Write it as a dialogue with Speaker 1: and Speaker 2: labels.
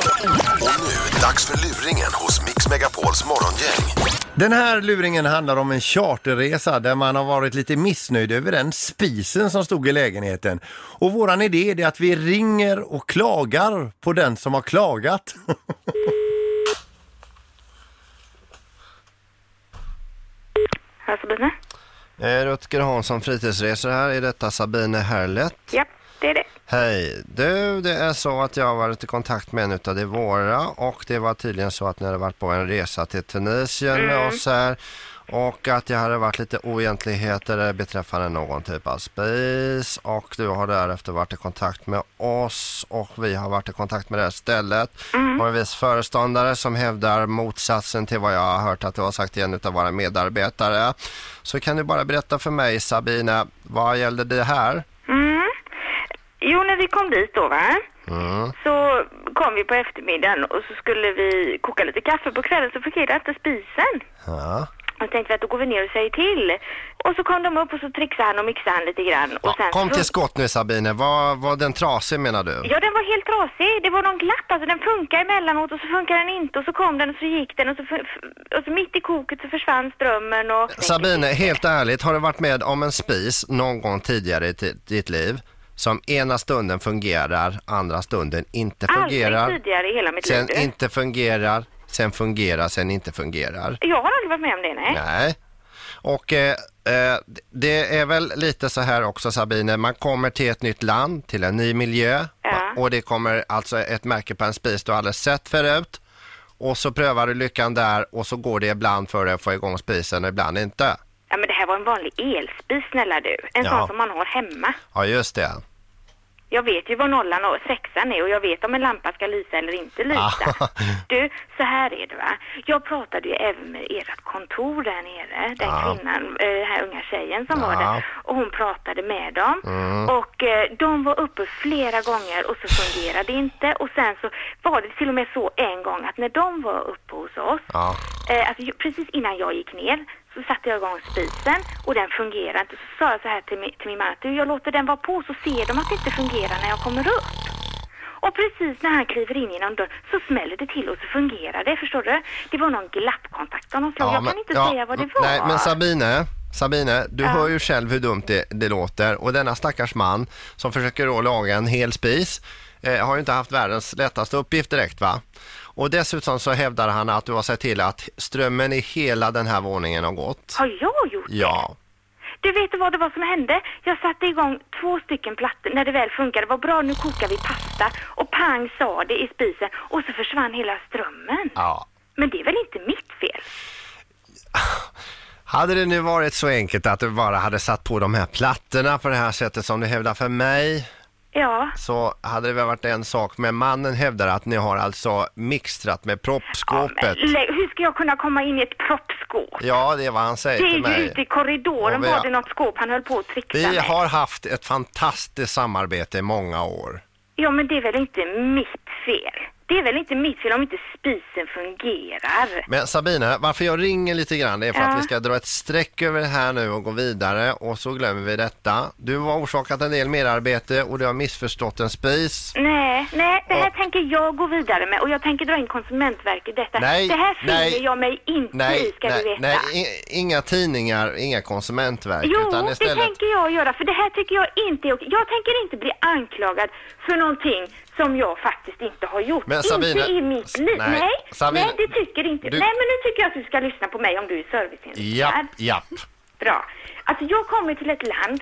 Speaker 1: Och nu, dags för luringen hos Mix Megapols morgongäng.
Speaker 2: Den här luringen handlar om en charterresa där man har varit lite missnöjd över den spisen som stod i lägenheten. Och våran idé är att vi ringer och klagar på den som har klagat.
Speaker 3: Ja, Sabine?
Speaker 4: Eh, Rutger Hansson Fritidsresor här. Är detta Sabine Herlet?
Speaker 3: Ja, det är det.
Speaker 4: Hej! Du, det är så att jag har varit i kontakt med en utav de våra och det var tydligen så att ni hade varit på en resa till Tunisien med oss här och att det hade varit lite oegentligheter beträffande någon typ av spis och du har därefter varit i kontakt med oss och vi har varit i kontakt med det här stället och en viss föreståndare som hävdar motsatsen till vad jag har hört att du har sagt till en utav våra medarbetare. Så kan du bara berätta för mig Sabina, vad gällde det här?
Speaker 3: Mm. Jo, när vi kom dit då va?
Speaker 4: Mm.
Speaker 3: Så kom vi på eftermiddagen och så skulle vi koka lite kaffe på kvällen så fungerade inte spisen.
Speaker 4: Ja.
Speaker 3: Och så tänkte vi att då går vi ner och säger till. Och så kom de upp och så trixade han och mixade han lite grann. Och
Speaker 4: Ja,
Speaker 3: sen
Speaker 4: kom
Speaker 3: så-
Speaker 4: till skott nu Sabine, var, var den trasig menar du?
Speaker 3: Ja, den var helt trasig. Det var någon glapp. Alltså, den funkar emellanåt och så funkar den inte. Och så kom den och så gick den och så, fu- f- och så mitt i koket så försvann strömmen och...
Speaker 4: Sabine, helt ärligt, har du varit med om en spis någon gång tidigare i ti- ditt liv som ena stunden fungerar, andra stunden inte
Speaker 3: Aldrig
Speaker 4: fungerar,
Speaker 3: tidigare i hela mitt
Speaker 4: sen
Speaker 3: liv. du.
Speaker 4: inte fungerar, sen fungerar, sen inte fungerar?
Speaker 3: Jag har aldrig varit med om det, nej.
Speaker 4: Nej. Och eh, eh, det är väl lite så här också Sabine, man kommer till ett nytt land, till en ny miljö
Speaker 3: Ja.
Speaker 4: och det kommer alltså ett märke på en spis du aldrig sett förut. Och så prövar du lyckan där och så går det ibland för dig att få igång spisen och ibland inte.
Speaker 3: Ja, men det här var en vanlig elspis, snälla du. En
Speaker 4: Ja.
Speaker 3: sån som man har hemma.
Speaker 4: Ja just det.
Speaker 3: Jag vet ju vad nollan och sexan är och jag vet om en lampa ska lysa eller inte lysa.
Speaker 4: Ah.
Speaker 3: Du, så här är det va. Jag pratade ju även med ert kontor där nere, den
Speaker 4: Ja.
Speaker 3: kvinnan, eh, den här unga tjejen som var
Speaker 4: Ja. Mm.
Speaker 3: där. Och hon pratade med dem. Och eh, de var uppe flera gånger och så fungerade det inte. Och sen så var det till och med så en gång att när de var uppe hos oss
Speaker 4: Ja.
Speaker 3: Eh, alltså, ju- precis innan jag gick ner så satte jag igång spisen och den fungerade inte. Så sa jag så här till min, till min man att "Du, jag låter den vara på så ser de att det inte fungerar när jag kommer upp. Och precis när han kliver in genom dörren så smäller det till och så fungerar det, förstår du? Det var någon glappkontakt av något slag. jag kan inte
Speaker 4: ja,
Speaker 3: säga vad det
Speaker 4: mm,
Speaker 3: var.
Speaker 4: Nej, men Sabine, Sabine, du
Speaker 3: Ja.
Speaker 4: hör ju själv hur dumt det, det låter och denna stackars man som försöker då laga en hel spis eh, har ju inte haft världens lättaste uppgift direkt va? Och dessutom så hävdar han att du har sett till att strömmen i hela den här våningen har gått.
Speaker 3: Har jag gjort det?
Speaker 4: Ja,
Speaker 3: Du vet du vad det var som hände? Jag satte igång två stycken plattor när det väl funkade. Vad bra, nu kokar vi pasta. Och pang sa det i spisen och så försvann hela strömmen.
Speaker 4: ja.
Speaker 3: Men det är väl inte mitt fel?
Speaker 4: Hade det nu varit så enkelt att du bara hade satt på de här plattorna på det här sättet som du hävdar för mig
Speaker 3: Ja.
Speaker 4: så hade det väl varit en sak, men mannen hävdar att ni har alltså mixtrat med proppskåpet.
Speaker 3: Ja, men lä- hur ska jag kunna komma in i ett proppskåp?
Speaker 4: Ja, det är vad han säger
Speaker 3: Det är
Speaker 4: till
Speaker 3: ju
Speaker 4: mig.
Speaker 3: ute i korridoren
Speaker 4: Ja, vi-
Speaker 3: var det något skåp han höll på att trixa
Speaker 4: Vi
Speaker 3: med.
Speaker 4: har haft ett fantastiskt samarbete i många år.
Speaker 3: Ja, men det är väl inte mitt fel? Det är väl inte mitt fel om inte spisen fungerar?
Speaker 4: Men Sabina, varför jag ringer lite grann det är för
Speaker 3: Ja.
Speaker 4: att vi ska dra ett streck över det här nu och gå vidare och så glömmer vi detta. Du har orsakat en del merarbete och du har missförstått en spis.
Speaker 3: Nej, nej, det här
Speaker 4: Och-
Speaker 3: tänker jag gå vidare med och jag tänker dra in Konsumentverket i detta.
Speaker 4: Nej,
Speaker 3: det här finner
Speaker 4: nej,
Speaker 3: jag mig inte i,
Speaker 4: Nej,
Speaker 3: ska du
Speaker 4: nej,
Speaker 3: veta.
Speaker 4: nej, i- inga tidningar, inga konsumentverk.
Speaker 3: Jo,
Speaker 4: utan
Speaker 3: det
Speaker 4: istället...
Speaker 3: tänker jag göra, för det här tycker jag inte är okej. Jag tänker inte bli anklagad för någonting som jag faktiskt inte har gjort.
Speaker 4: Men Sabine-
Speaker 3: inte i mitt liv.
Speaker 4: nej,
Speaker 3: Nej, nej,
Speaker 4: Sabine,
Speaker 3: det tycker inte
Speaker 4: du-
Speaker 3: Nej, men nu tycker jag att du ska lyssna på mig om du är serviceinriktad.
Speaker 4: Japp, japp.
Speaker 3: Bra. Alltså, jag kommer till ett land